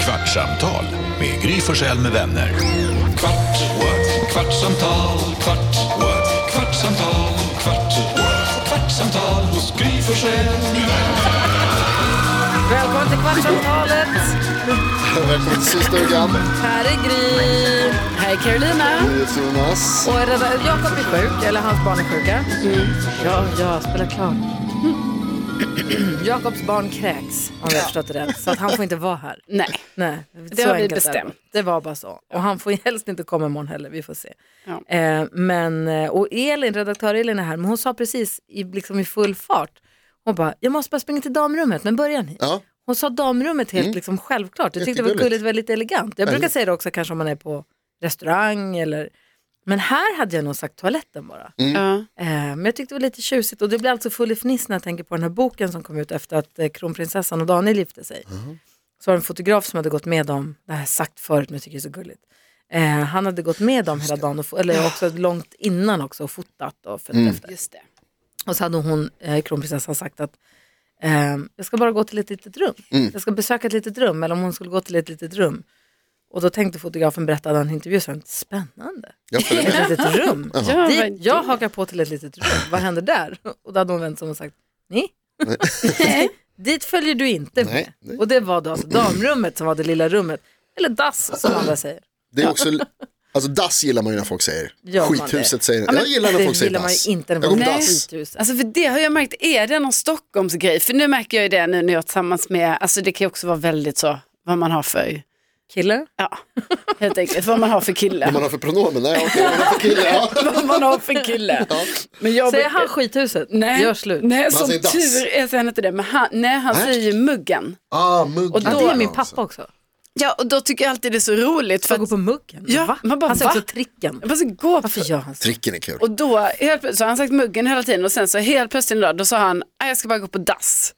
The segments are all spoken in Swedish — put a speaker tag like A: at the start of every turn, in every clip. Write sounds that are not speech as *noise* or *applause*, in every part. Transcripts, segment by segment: A: Kvartsamtal med Gry Forssell med vänner. Kvart, what? kvartsamtal, kvart, what? kvartsamtal, kvart, what? kvartsamtal hos Gry Forssell med vänner.
B: Välkommen till Kvartsamtalet!
C: Välkommen till stugan.
B: Här är Gry. Här är Carolina.
C: Jonas.
B: Och är rädda- Jakob är sjuk, eller hans barn är sjuka.
D: Mm.
B: Ja, ja, spela klart. *clears throat* Jakobs barn kräks, om jag förstått det rätt. Så att han får inte vara här.
D: Nej.
B: Nej, så
D: har
B: enkelt
D: vi
B: är det.
D: bestämt.
B: Det var bara så. Och han får ju helst inte komma imorgon heller, vi får se.
D: Ja.
B: Eh, men, eh, och Elin, redaktör Elin är här, men hon sa precis i, liksom i full fart, hon bara, jag måste bara springa till damrummet, men börjar ni?
C: Ja,
B: Hon sa damrummet helt liksom självklart. Jag tyckte det var
C: Mm. Jättegulligt.
B: gulligt, väldigt elegant. Jag brukar
C: Väldigt.
B: säga det också kanske om man är på restaurang eller... Men här hade jag nog sagt toaletten bara.
C: Mm.
D: Ja.
B: Eh, men jag tyckte det var lite tjusigt och det blir alltså full i fniss när jag tänker på den här boken som kom ut efter att eh, kronprinsessan och Daniel gifte sig.
C: Mm.
B: Så var det en fotograf som hade gått med dem, det här har jag sagt förut men jag tycker det är så gulligt. Eh, han hade gått med dem hela dagen, och, fo- eller också långt innan också och fotat och
C: Mm.
B: följt efter.
D: Just det.
B: Och så hade hon, eh, kronprinsessan, sagt att eh, jag ska bara gå till ett litet rum.
C: Mm.
B: Jag ska besöka ett litet rum, eller om hon skulle gå till ett litet rum. Och då tänkte fotografen, berättade han i intervju, så han, spännande.
C: jag följer med.
B: Ett litet
C: *laughs*
B: rum.
D: Ja,
B: Dit,
D: men
B: jag hakar på till ett litet rum, vad händer där? Och då hade hon vänt sig om och sagt, nej. Dit följer du inte
C: Nej,
B: med. Och det var då alltså damrummet som var det lilla rummet. Eller dass
C: Ah.
B: som andra säger.
C: Det är också, alltså dass gillar man ju när folk säger.
B: Gör man
C: Skithuset
B: det?
C: säger
B: Ja, men
C: Jag gillar när
B: det
C: folk säger
B: gillar man ju
C: dass.
B: inte när
C: jag går
B: man
C: på
B: säger
C: dass.
B: skithuset.
D: Alltså för det har jag märkt, är det någon Stockholmsgrej? För nu märker jag ju det nu när jag är tillsammans med, alltså det kan ju också vara väldigt så, vad man har för,
B: Killar?
D: *laughs* ja, helt enkelt, vad man har för
C: Vad
D: kille.
C: man har för pronomen, nej okej, vad man har för kille. *laughs* Ja.
D: *laughs* vad man har för kille.
C: Ja.
D: Men jag
B: Säger
D: brukar-
B: han skithuset?
D: Nej,
B: Gör slut.
D: nej
C: Han
D: som
C: säger dass. Äh?
D: tur är säger han inte det, men han, nej, han
C: Nej.
D: säger ju muggen.
C: *laughs* Ah, mugg.
B: Ja, det är min pappa också.
D: Ja, och då tycker jag alltid det är så roligt. För
B: Får gå
D: att,
B: på muggen?
D: Ja,
B: va?
D: man bara,
B: han säger
D: va?
B: också tricken.
D: jag bara, så gå
B: Varför gör han så?
C: Tricken är kul.
D: Och då, helt plötsligt, så har han sagt muggen hela tiden och sen så helt plötsligt en dag, då sa han, "Nej, jag ska bara gå på dass.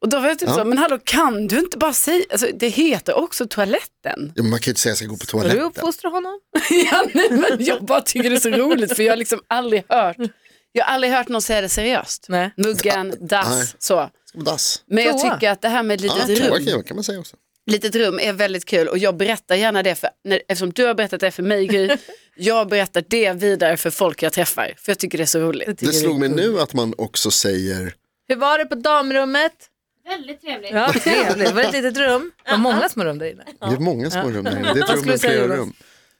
D: Och då var jag typ så, men hallå kan du inte bara säga, alltså, det heter också toaletten. *laughs*
C: Ja, men man kan ju inte säga att jag ska gå på
B: Har du
C: toaletten.
B: uppfostrat honom?
D: ja, nej, men jag bara tycker det är så roligt för jag har liksom aldrig hört, jag har aldrig hört någon säga det seriöst.
B: Nej.
D: Muggen,
C: Nej.
D: dass, så.
C: Ska på dass. Ah,
D: Men jag
B: Toa.
D: tycker att det här med
C: Ja,
D: litet
C: toa
D: rum,
C: kan jag- kan man säga också.
D: litet rum är väldigt kul och jag berättar gärna det, för, när, eftersom du har berättat det för
C: *laughs*
D: mig Gry, jag berättar det vidare för folk jag träffar, för jag tycker det är så roligt.
B: tycker
C: Det
B: jag är
C: slog mig
B: kul.
C: nu att man också säger,
B: Hur var det på damrummet?
E: Väldigt trevligt.
B: Ja, trevligt. Var det ett litet rum? Det var många små rum där inne.
C: det är många
B: *laughs*
C: små rum där inne. det är ett
B: Vad
C: rum
B: skulle
C: med
B: du säga,
C: flera
B: Jonas?
C: rum.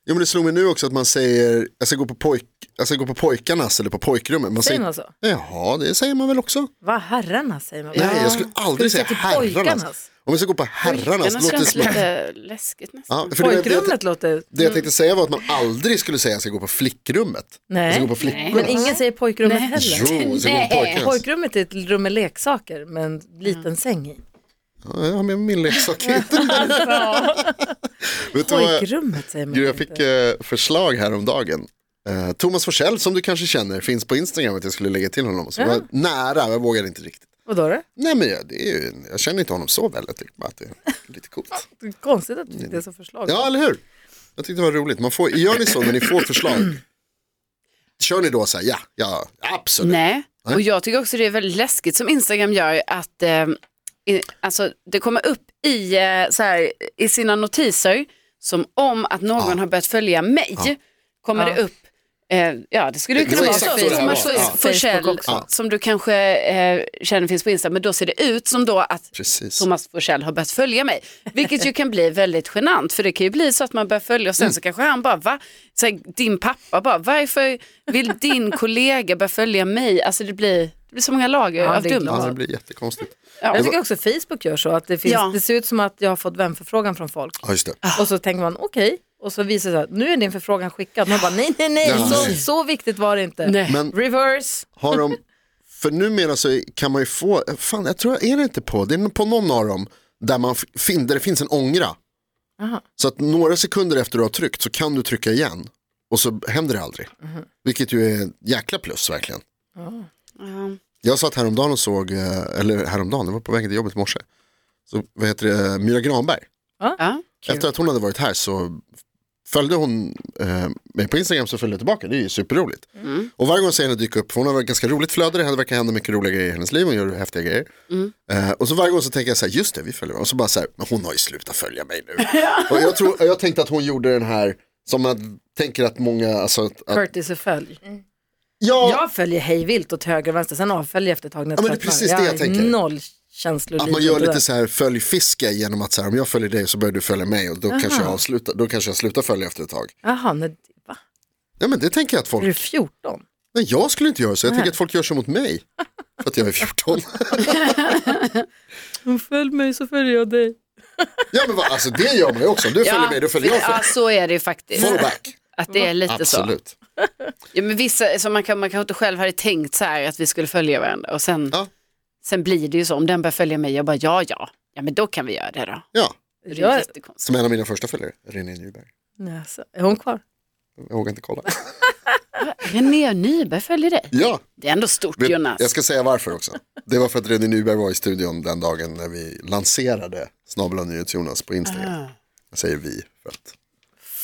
C: Jo men det slog mig nu också att man säger, jag ska gå på, pojk, jag ska gå på pojkarnas eller på pojkrummet. Man
B: Säger
C: säger,
B: man så?
C: jaha det säger man väl också?
B: alltså. Vad herrarna säger man.
C: Nej, jag skulle aldrig
B: Ska du
C: säga
B: till
C: herrarnas.
B: pojkarnas?
C: Om jag ska gå på herrarnas,
D: Annars
C: låter det
D: känns
C: som att-
D: lite läskigt nästan.
C: Ja, för det, det, det,
B: Pojkrummet låter...
C: det jag tänkte säga var att man aldrig skulle säga att jag ska gå på flickrummet. Jag ska
B: Nej,
C: gå på flickrummet.
B: men ingen säger pojkrummet
C: Jo,
B: heller.
C: jag ska gå på pojkarnas.
B: Pojkrummet är ett rum med leksaker med en liten säng i.
C: Ja, jag har med min leksak.
B: *laughs*
C: Vet du vad jag-
B: Pojkrummet säger man
C: Gud, jag
B: inte.
C: fick eh, förslag häromdagen. Eh, Thomas Forsell som du kanske känner finns på Instagram att jag skulle lägga till honom. Så var nära, jag vågade inte riktigt.
B: Vadå då?
C: Nej men jag, det är ju, jag känner inte honom så väl, jag tycker bara att det är lite coolt.
B: Det är Konstigt att du fick det som förslag.
C: Ja, eller hur? Jag tyckte det var roligt. Man får, gör ni så när ni får förslag? Kör ni då så här, ja, ja, absolut.
D: Nej, och jag tycker också det är väldigt läskigt som Instagram gör att eh, i- alltså, det kommer upp i, eh, så här, i sina notiser som om att någon har börjat följa mig kommer det upp eh, Ja, det skulle ju
C: Det
D: kunna
C: var
D: vara
C: exakt så det här
D: Thomas
C: var. Ja.
B: Facebook
D: Forsell
B: också.
C: Ja.
D: som du kanske eh, känner finns på Insta, men då ser det ut som då att
C: Precis.
D: Thomas Forsell har börjat följa mig. Vilket ju kan bli väldigt genant för det kan ju bli så att man börjar följa och sen
C: Mm.
D: så kanske han bara, va? Så här, din pappa bara, varför vill din kollega börja följa mig? Alltså det blir, det blir så många lager
B: Ja,
D: av
B: det är
D: dumma.
C: Ja, det blir jättekonstigt.
B: Jag tycker också Facebook gör så att det, finns,
D: Ja.
B: det ser ut som att jag har fått vänförfrågan från folk
C: Ja, just det.
B: och så tänker man okej och så visar det sig att nu är din förfrågan skickad. Man bara nej, nej, nej,
C: Ja,
B: så,
C: nej.
B: så viktigt var det inte.
D: Nej.
C: Men
B: Reverse.
C: har de, för numera så kan man ju få, fan jag tror, är det inte på, det är på någon av dem där, man f- fin, där det finns en ångra.
B: Aha.
C: Så att några sekunder efter du har tryckt så kan du trycka igen och så händer det aldrig.
D: Mhm.
C: Vilket ju är ett jäkla plus verkligen.
D: Ja.
C: Jag satt häromdagen och såg, eh, eller häromdagen, det var på vägen till jobbet i morse. Så vad heter det, eh, Myra Granberg.
D: Ja.
C: Efter att hon hade varit här så Följde hon eh, mig på Instagram så följde jag tillbaka, det är ju superroligt. Och varje gång jag ser henne dyka upp, för hon har ett ganska roligt flöde, det verkar hända mycket roliga grejer i hennes liv, hon gör häftiga grejer. Eh, och så varje gång så tänker jag så här, just det, vi följer varandra. Och så bara så här, men hon har ju slutat följa mig nu. och jag, tror, jag tänkte att hon gjorde den här, som man tänker att många, alltså att, att
B: Curtis är följ.
C: ja,
B: Jag följer hejvilt åt höger och vänster, sen avföljer jag efter ett tag när jag
C: Ja, men det
B: tröttnar.
C: är precis det jag
B: har
C: tänker.
B: Noll känsloliv.
C: Att man gör
B: och det där.
C: lite så här följfiske genom att så här, om jag följer dig så börjar du följa mig och då, kanske jag, slutar, då kanske jag slutar följa efter ett tag.
B: Jaha, nej, va?
C: Ja men det tänker jag att
B: Är du
C: folk,
B: 14?
C: nej jag skulle inte göra så, jag tänker att folk gör så mot mig. För att jag är 14.
B: Hon följ mig så följer jag dig.
C: ja men vad, alltså det gör man ju också, om du följer mig då följer jag
D: Ja,
C: för,
D: så är det ju faktiskt.
C: fallback.
D: Att det är lite så.
C: Absolut.
D: Ja, men vissa, så man, kan, man kanske inte själv hade tänkt så här att vi skulle följa varandra och sen,
C: Ja.
D: sen blir det ju så. Om den börjar följa mig, jag bara ja, ja, ja, men då kan vi göra det då.
C: Ja,
D: Det är ju
B: Jag-
D: jättekonstigt.
C: som en av mina första följare, René Nyberg.
B: Nej, alltså, är hon kvar?
C: Jag vågar inte kolla.
D: René Nyberg följer dig.
C: Ja,
D: Det är ändå stort
C: vet,
D: Jonas.
C: jag ska säga varför också. Det var för att René Nyberg var i studion den dagen när vi lanserade Snabel Jonas på Instagram. Jag säger vi för att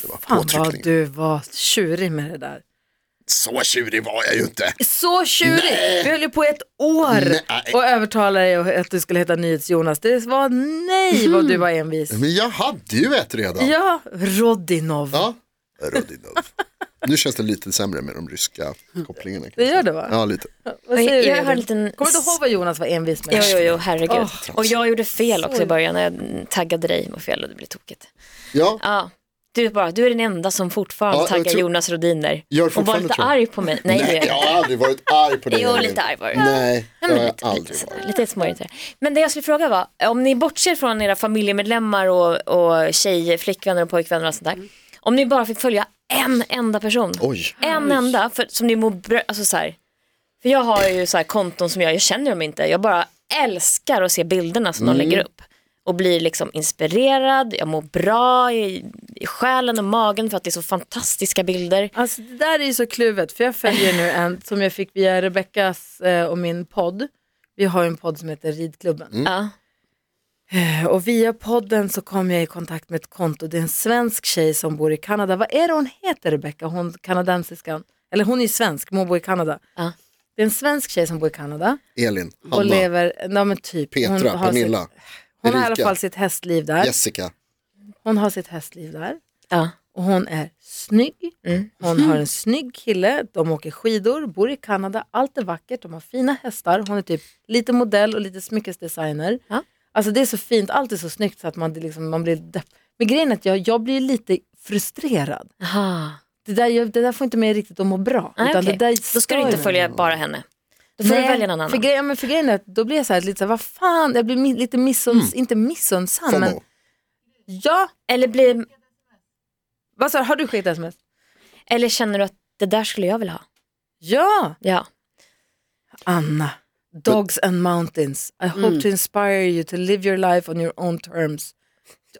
C: det var
B: Fan
C: påtryckning.
B: vad du var tjurig med det där.
C: Så tjurig var jag ju inte.
B: Så tjurig! Vi höll ju på ett år
C: Nej.
B: och övertalade dig att du skulle heta NyhetsJonas. Det var nej vad du var envis.
C: Men jag hade ju ett redan.
B: Ja, Rodinov.
C: Mm. Ja. Rodinov. nu känns det lite sämre med de ryska kopplingarna.
B: Det gör det, va?
C: Ja, lite.
B: Vad säger
E: Jag- jag
B: du,
E: har en
B: Elin?
E: liten-
B: Kommer du ihåg vad Jonas var envis med?
E: Jo, jo, jo, herregud.
B: Åh,
E: och jag gjorde fel också i början när jag taggade dig och fel och det blev tokigt.
C: Ja,
E: Ja, du, är bara, du är den enda som fortfarande
C: Ja, jag
E: taggar
C: tror-
E: Jonas Rodiner.
C: Gör
E: och var
C: fortfarande,
E: lite
C: tror jag.
E: arg på mig. Nej,
C: Nej,
E: det-
C: jag har aldrig varit arg på dig.
E: Jo,
C: Elin.
E: lite arg var du.
C: Nej, det
E: Ja,
C: har
E: men
C: jag
E: lite, lite,
C: aldrig
E: sådär,
C: varit.
E: lite smårigt. sådär. Men det jag skulle fråga var, om ni bortser från era familjemedlemmar och, och tjejer, flickvänner och pojkvänner och sånt där. Om ni bara fick följa en enda person.
C: Oj.
E: En enda, för, som ni mår bra, alltså så här. För jag har ju så här konton som jag, jag känner dem inte, jag bara älskar att se bilderna som
C: Mm.
E: de lägger upp. Och blir liksom inspirerad, jag mår bra i, i själen och magen för att det är så fantastiska bilder.
B: Alltså det där är ju så kluvet, för jag följer nu en som jag fick via Rebeckas eh, och min podd. Vi har ju en podd som heter Ridklubben.
C: Mm.
E: Ja.
B: Eh, Och via podden så kom jag i kontakt med ett konto. Det är en svensk tjej som bor i Kanada. Vad är det hon heter Rebecka? Hon kanadensiskan. Eller hon är ju svensk, men hon bor i Kanada.
E: Ja.
B: Det är en svensk tjej som bor i Kanada
C: Elin,
B: och
C: Hanna,
B: lever, nej men typ.
C: Petra,
B: hon har
C: Pernilla,
B: Sitt, hon har i alla
C: Erika.
B: fall sitt hästliv där.
C: Jessica.
B: Hon har sitt hästliv där.
E: Ja.
B: Och hon är snygg.
E: Mm.
B: Hon har
E: *laughs*
B: en snygg kille. De åker skidor, bor i Kanada. Allt är vackert. De har fina hästar. Hon är typ lite modell och lite smyckesdesigner.
E: Ja.
B: Alltså det är så fint. Allt är så snyggt så att man, det liksom, man blir depp. Men grejen är att jag, jag blir lite frustrerad.
E: Aha.
B: Det där, jag, det där får inte mig riktigt att må bra.
E: Nej,
B: utan
E: okej.
B: det där
E: Då ska
B: stör
E: du inte
B: mig.
E: följa bara henne. Då får du
B: Nej,
E: välja någon annan.
B: För grejen, men för grejen är att då blir jag så här, lite så här, vad fan, jag blir mi- lite
E: Mm.
B: missunds, inte missundsam. Men,
C: FOMO.
B: ja,
E: Eller, bli,
B: vad sa du, har du skickat sms?
E: eller känner du att det där skulle jag vilja ha?
B: Ja.
E: Ja.
B: Anna, Dogs and Mountains. I hope to inspire you to live your life on your own terms.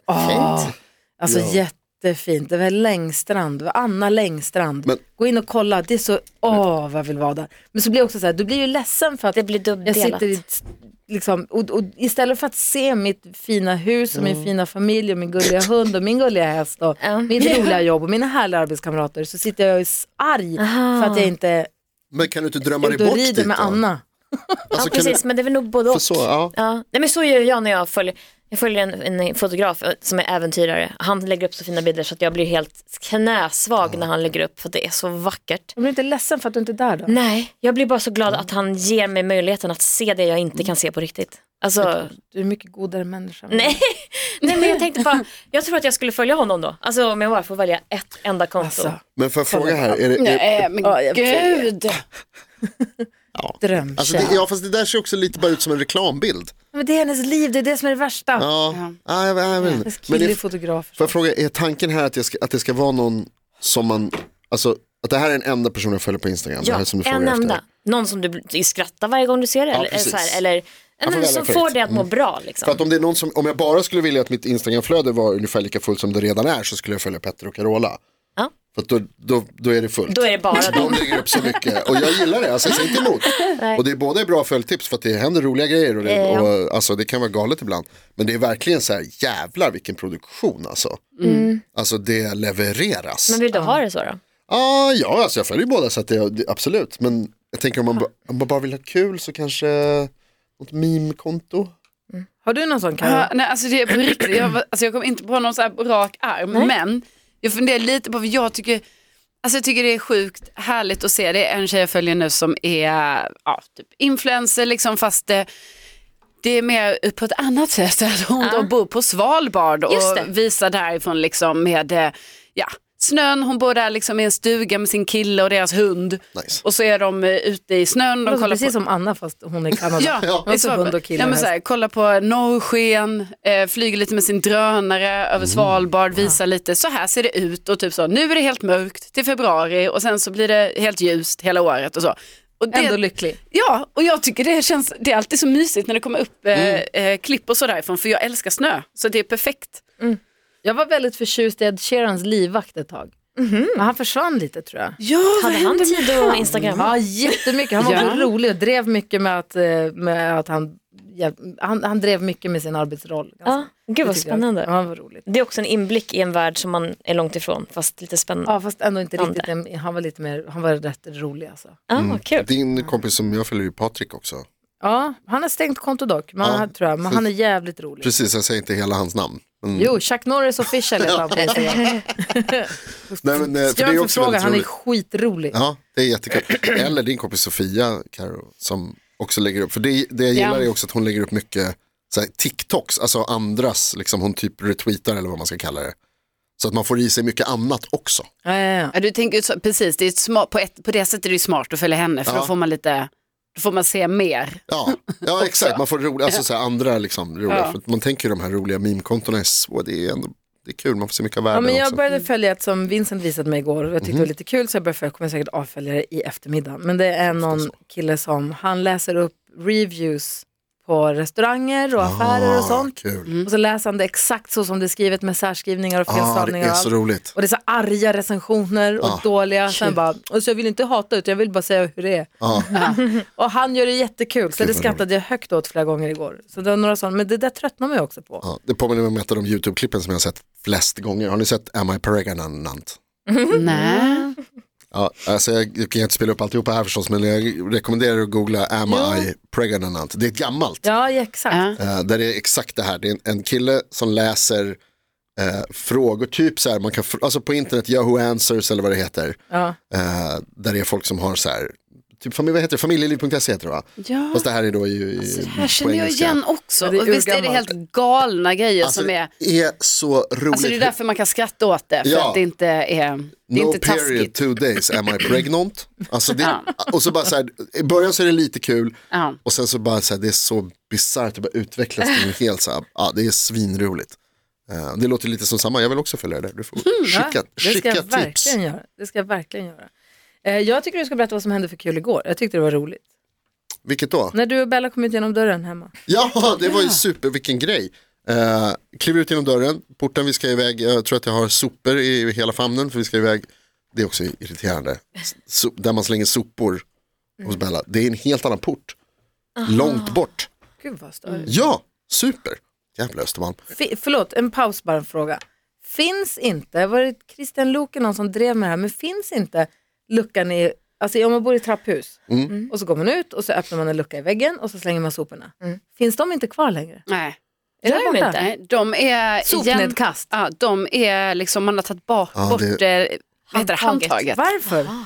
B: Oh, Fint. Alltså
C: Ja.
B: jättefint. Det var Längstrand, det var Anna Längstrand.
C: Men-
B: Gå in och kolla, det är så, åh vad jag vill vara där. Men så blir jag också så här, du blir ju ledsen för att
E: Det blir
B: jag
E: dubbdelat.
B: sitter i, ett- liksom, och, och istället för att se mitt fina hus och min fina familj och min gulliga hund och min gulliga häst och
E: Ja.
B: mitt roliga jobb och mina härliga arbetskamrater så sitter jag och är arg för att jag inte
C: Men kan du inte drömma
B: är
C: dig
B: ute och
C: bort
B: rider
C: dit
B: med
C: då?
B: Anna.
C: Alltså,
E: ja,
C: kan du-
E: precis, men det är väl nog både
C: För
E: och.
C: så, ja.
E: Ja. Nej, men så gör jag när jag följer, jag följer en, en fotograf eh, som är äventyrare. Han lägger upp så fina bilder så att jag blir helt knäsvag när han lägger upp för det är så vackert.
B: Jag blir inte ledsen för att du inte är där då?
E: Nej, jag blir bara så glad
C: Mm.
E: att han ger mig möjligheten att se det jag inte kan se på riktigt. Alltså,
B: Du är mycket godare människa.
E: nej. nej, men jag tänkte
C: *laughs*
E: bara, jag tror att jag skulle följa honom då. Alltså om jag bara får välja ett enda konto.
B: Alltså,
C: Men får jag fråga här, är det, är,
D: Nej, Eh, men
B: Ja, jag vet.
D: gud.
B: drömtjej.
C: Alltså det, ja, fast det där ser också lite bara ut som en reklambild.
B: Men det är hennes liv, det är det som är det värsta.
C: Ja, ja. jag, jag, jag,
B: Hennes
C: men
B: kille är
C: är,
B: fotograf.
C: får jag fråga, är tanken här att, jag ska, att det ska vara någon som man, alltså att det här är den enda personen jag följer på Instagram? det
E: Ja,
C: här som du
E: en
C: frågar
E: enda.
C: Efter.
E: Någon som du bl- skrattar varje gång du ser det. eller, eller,
C: precis.
E: så här, eller
C: får
E: men,
C: välja
E: som
C: fritt.
E: får dig att må bra.
C: För
E: Liksom.
C: att om, det är någon som, om jag bara skulle vilja att mitt Instagramflöde var ungefär lika fullt som det redan är så skulle jag följa Petter och Carola.
E: Ja.
C: För att då, då, då är det fullt.
E: Då är det bara
C: *laughs* De
E: dem.
C: lägger upp så mycket och jag gillar det, alltså jag säger inte
E: *laughs*
C: emot. Och det är både bra följtips för att det händer roliga grejer och, det,
E: Eh, Ja.
C: och alltså, det kan vara galet ibland. Men det är verkligen så här, jävlar vilken produktion alltså. Alltså det levereras.
E: Mm. Men vill du ha det så då?
C: Ah, ja, alltså jag följer ju båda så att det, det, absolut. Men jag tänker om man, ba- om man bara vill ha kul så kanske något meme-konto.
B: Har du någon sån Carro?
D: Ja, nej, alltså det är på riktigt. Jag, var- alltså jag kom inte på någon så här rak arm, men jag funderar lite på, för jag tycker, alltså jag tycker det är sjukt härligt att se. Det är en tjej jag följer nu som är ja, typ influencer, liksom, fast det, det är mer på ett annat sätt. *laughs* Att hon då bor på Svalbard och
E: Just det.
D: visar därifrån liksom med eh, ja, snön. Hon bor där liksom i en stuga med sin kille och deras hund.
C: Nice.
D: Och så är de eh, ute i snön. De
B: Låter
D: kollar
B: precis
D: på
B: som Anna fast hon är i Kanada.
D: Ja,
B: Hon är så
D: exakt.
B: hund och kille
D: ja,
B: och
D: men så här, kolla på norrsken, eh, flyger lite med sin drönare över Svalbard, visar lite, så här ser det ut och typ så, nu är det helt mörkt till februari och sen så blir det helt ljust hela året och så. Och
B: häst.
D: det,
B: Ändå lycklig.
D: ja, och jag tycker det känns, det är alltid så mysigt när det kommer upp eh, eh, klipp och så därifrån, för jag älskar snö, så det är perfekt.
B: Jag var väldigt förtjust i Ed Sheerans livvakt ett tag. Men han försvann lite tror jag.
D: Ja, vad
E: Hade han
D: händer med
E: tid att instagramma?
B: Mhm. Ja, jättemycket. Han var
D: Ja.
B: ja. rolig och drev mycket med att, eh, med att han, hjälp- han, han drev mycket med sin arbetsroll. ganska.
E: Ja, gud vad
B: Alltså, Det tycker jag.
E: spännande.
B: Ja, han var roligt.
E: Det är också en inblick i en värld som man är långt ifrån, fast lite spännande.
B: Ja, fast ändå inte
E: Andra.
B: riktigt. en- Han var lite mer, han var rätt rolig alltså.
E: Ja, kul.
C: Din kompis som jag följer är ju Patrik också.
B: Ja, han har stängt konto dock, men,
C: Ja,
B: han, tror jag, men
C: så-
B: han är jävligt rolig.
C: Precis, jag säger inte hela hans namn. Men,
B: Jo, Chuck Norris official heter han på Instagram.
C: nej, men, eh, för
B: Gör
C: det Eh, är
B: en
C: också
B: förfrågan,
C: väldigt
B: han är
C: roligt.
B: skitrolig.
C: Ja, det är jättekul. *clears throat* Eller din kompis Sofia Karo, som också lägger upp. För det, det jag gillar är också att hon lägger upp mycket så här, TikToks, alltså andras, liksom, hon typ retweetar eller vad man ska kalla det. Så att man får i sig mycket annat också.
B: Ja, ja, ja.
D: Ja, du tänker ju så, precis, det är ett smart, på, ett, på det sättet är det ju smart att följa henne, för
C: Ja.
D: då får man lite, då får man se mer.
C: Ja,
B: *laughs*
C: ja exakt, man får roliga, alltså, så här, andra liksom, roliga. För att man tänker ju de här roliga meme-kontona är så, det är ändå det är kul, man får se mycket av
B: Ja,
C: världen
B: men jag
C: också. Mhm.
B: började följa ett som Vincent visade mig igår och jag tyckte det var lite kul så jag började följa, jag kommer säkert avfölja det i eftermiddag. Men det är någon kille som, han läser upp reviews på restauranger och affärer och
C: Ah,
B: sånt. Mm,
C: Kul.
B: Och så läser han det exakt så som det är skrivet med särskrivningar och
C: Ah, det
B: felstavningar
C: är
B: och
C: så
B: allt.
C: roligt.
B: Och det är så arga recensioner och
C: Ah.
B: dåliga. Sen bara, och så jag vill inte hata utan jag vill bara säga hur det är. *laughs*
C: Ja.
B: Och han gör det jättekul så
C: Gud,
B: det
C: vad
B: skrattade jag högt åt flera gånger igår. Så det var några sådana, men det där tröttnar man ju också på.
C: Ja, ah. det påminner mig om ett av de YouTube-klippen som jag har sett flest gånger. Har ni sett Am I Pregnant?
D: Mm. Nej.
C: Ja, alltså jag, jag kan inte spela upp alltihopa här förstås, men jag rekommenderar att googla Am I Pregnant. Det är ett gammalt,
B: Ja, ja, exakt.
D: Ja.
C: eh, där det är exakt det här. Det är en, en kille som läser eh, frågor, typ så här, man kan, fr- alltså på internet, Yahoo Answers eller vad det heter.
B: Ja.
C: Eh, där det är folk som har så här, typ, familj, vad heter det, familjeliv.se heter det va?
D: Ja.
C: Fast det här är då ju i, alltså,
D: Det här känner jag igen också.
B: Ja, det är
D: och visst är det
B: urgammalt.
D: helt galna grejer
C: Alltså,
D: som är...
C: det är så roligt.
D: Alltså det är därför man kan skratta åt det, för
C: Ja.
D: att det inte är, det är
C: No
D: inte taskigt.
C: period, two days, am I pregnant? Alltså det, och så bara så här, i början så är det lite kul
D: Ja.
C: och sen så bara så här, det är så bisarrt, det bara utvecklas till en hel så här, ja det är svinroligt. Eh, det låter lite som samma, jag vill också följa det där, du får
D: Mm,
C: skicka,
B: Det ska
C: skicka
B: jag
C: tips.
B: verkligen göra. Det ska jag verkligen göra. Eh, Jag tycker du ska berätta vad som hände för kul igår. Jag tyckte det var roligt.
C: Vilket då?
B: När du och Bella kom ut genom dörren hemma.
C: Ja, *laughs* det var ju super, vilken grej. Uh, kliver ut genom dörren, porten, vi ska iväg, jag tror att jag har sopor i hela famnen för vi ska iväg, det är också irriterande, so där man slänger sopor hos Bella, det är en helt annan port, långt bort.
B: Gud vad störigt.
C: Ja, super. Jävla Östermalm.
B: Fi- Förlåt, en paus bara en fråga. Finns inte, var det Christian Luuk eller någon som drev med det här, men finns inte luckan i, alltså om man bor i trapphus
C: Mm.
B: Mm. och så går man ut och så öppnar man en lucka i väggen och så slänger man soporna. Finns de inte kvar längre?
D: Nej.
B: Är
E: Gör de
B: borta?
E: inte?
D: Nej, Mm. de är...
B: Sopnedkast.
D: Igen, ja, de är liksom, man har tagit bak,
C: Ja,
D: bort
C: det-
D: det... Heter det,
E: Handtaget.
D: handtaget.
B: Varför?
D: Ah,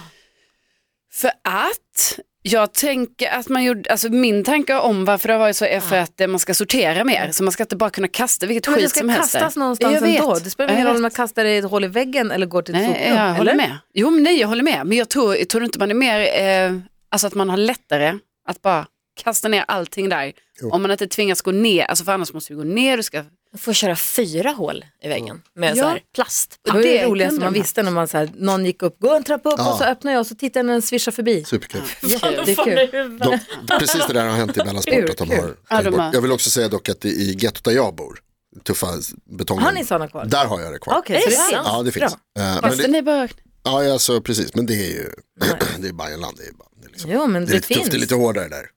D: För att jag tänker att man gjorde, alltså min tanke om varför det har varit så är för att eh, man ska sortera mer. Så man ska inte bara kunna kasta vilket
B: Men det
D: skit
B: ska
D: som helst. där.
B: kastas någonstans
D: Jag vet.
B: ändå. Det spelar
D: Jag
B: ingen roll om
D: vet.
B: man kastar det i ett hål i väggen eller går till ett
D: Nej,
B: soprum.
D: jag håller
B: eller?
D: med. Jo, men nej, jag håller med. Men jag tror, jag tror inte man är mer, eh, alltså att man har lättare att bara kasta ner allting där.
C: Jo.
D: Om man inte tvingas gå ner, alltså för annars måste du gå ner, du ska...
E: Du får köra fyra hål i väggen med
D: Ja.
E: så här plast.
B: Det var ju
D: Det
B: det roligaste
D: kunde
B: man
D: de
B: visste när man så här, någon gick upp, gå en trappa upp
C: Ja.
B: och så öppnar jag och så tittar jag när den svischar förbi.
C: Superkul.
B: Jättekul.
C: De, precis det där har hänt i Bellas port. Att de har,
D: Ja, de har-
C: jag vill också säga dock att i gettot där jag bor, tuffa betongen.
B: Har ni sådana kvar?
C: Där har jag det kvar.
B: Okej, så det
E: sant?
B: finns.
C: Ja, det finns.
B: Bra.
C: Eh, men
D: Fast
C: det,
D: den är bara...
C: Ja, alltså precis, men det är ju, *clears throat* det är Bayernland, det är, bara- det är, liksom,
B: Jo, men det,
C: det är lite
B: finns.
C: tufft, det är lite hårdare där,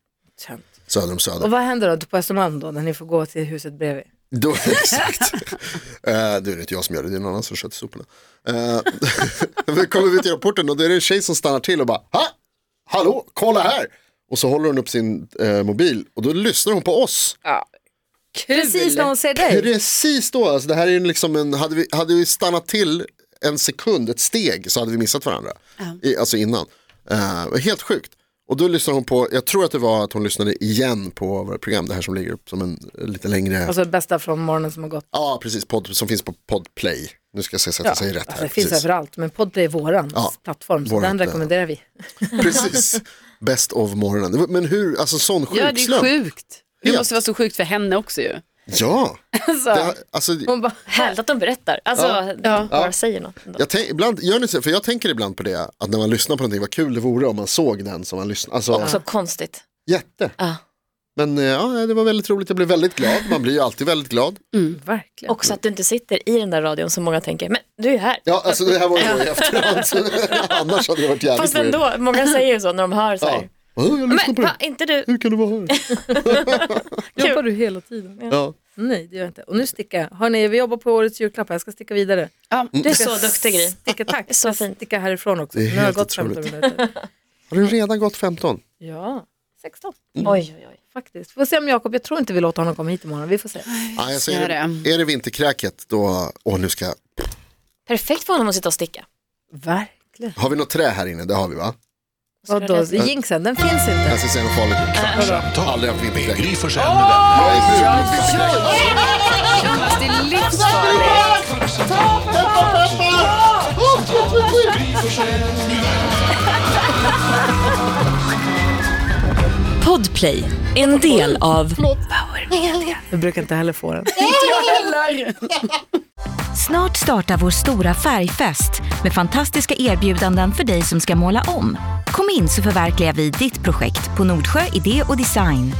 B: Tönt.
C: söder om söder.
B: Och vad händer då på Östermalm då när ni får gå till huset bredvid?
C: *laughs* Då, exakt. *laughs* Eh, det är inte jag som gör det, det är någon annan som sköter soporna. Eh, *laughs* vi kommer vi till airporten och då är det en tjej som stannar till och bara, ha? Hallå, kolla här! Och så håller hon upp sin eh, mobil och då lyssnar hon på oss.
D: Kul.
B: Precis när hon ser dig.
C: Precis då, alltså det här är ju liksom en, hade vi, hade vi stannat till en sekund, ett steg, så hade vi missat varandra. I, alltså innan. Eh, helt sjukt. Och då lyssnade hon på, jag tror att det var att hon lyssnade igen på vårt program, det här som ligger upp som en eh, lite längre
B: Alltså det bästa från morgonen som har gått.
C: Ja, precis. Podd, som finns på Podplay. Nu ska jag se så att jag säger rätt här.
B: Alltså, det finns
C: precis.
B: överallt, men Podplay är våran
C: Ja, eh,
B: plattform, så
C: vårat,
B: den rekommenderar vi.
C: precis. Best of morgonen. Det var- Men hur, alltså sån sjuk
D: Ja, det är
C: slump.
D: sjukt. Det
C: Ja.
D: måste vara så sjukt för henne också ju.
C: Ja, det,
D: Alltså,
C: har- alltså,
B: Hon bara,
E: Härligt att de berättar. Alltså,
C: Ja.
E: de bara säger något. ändå.
C: jag, tänk, ibland, gör ni så, för jag tänker ibland på det, att när man lyssnar på någonting, vad kul det vore om man såg den som man lyssnar. Alltså,
E: Också konstigt.
C: jätte.
E: Ja.
C: Men eh, ja, det var väldigt roligt, jag blev väldigt glad. Man blir ju alltid väldigt glad.
B: verkligen.
E: Också att du inte sitter i den där radion som många tänker, men du är ju här.
C: Ja, alltså det här var ju då i efterhand. *laughs* så- Annars hade det varit jävligt
E: Fast
C: weird.
E: ändå, många säger ju så när de hör så
C: Ja.
E: här.
C: Ja, jag lyssnar
E: Men
C: på det.
E: va, inte du?
C: Hur kan du vara
E: *laughs*
C: här?
B: Jobbar du hela tiden?
C: Ja.
B: Nej, det gör jag inte. Och nu sticker jag. Hörni, vi jobbar på årets julklapp. Jag ska sticka vidare.
D: ja,
E: Du är så duktig Gry.
B: Sticka,
E: *laughs*
B: tack.
E: Så
B: Så
E: fint.
B: fint. Sticka härifrån också.
C: Det är
B: Nu har jag
C: helt
B: gått 15
C: otroligt. *laughs*
B: minuter.
C: Har du redan gått 15?
B: Ja, 16
E: Oj, oj, oj.
B: faktiskt. Får se om Jakob, jag tror inte vi låter honom komma hit imorgon. Vi får se.
C: Ja, alltså,
D: Så
C: är,
D: är
C: det, är det vinterkräket då, åh nu ska jag
E: Perfekt för honom att sitta och sticka.
B: Verkligen.
C: Har vi något trä här inne? Det har vi va?
B: Vadå, jinxen, den finns inte.
C: Jag ska säga något farligt. Kvartsamtal. Aldrig haft
A: med
C: vinterkräk.
A: Gry Forssell med vänner.
C: Jag är ful.
D: Fast det är livsfarligt.
F: Podplay, en del av
B: Jag brukar inte heller få den.
G: Snart startar vår stora färgfest med fantastiska erbjudanden för dig som ska måla om. Kom in så förverkligar vi ditt projekt på Nordsjö Idé och Design.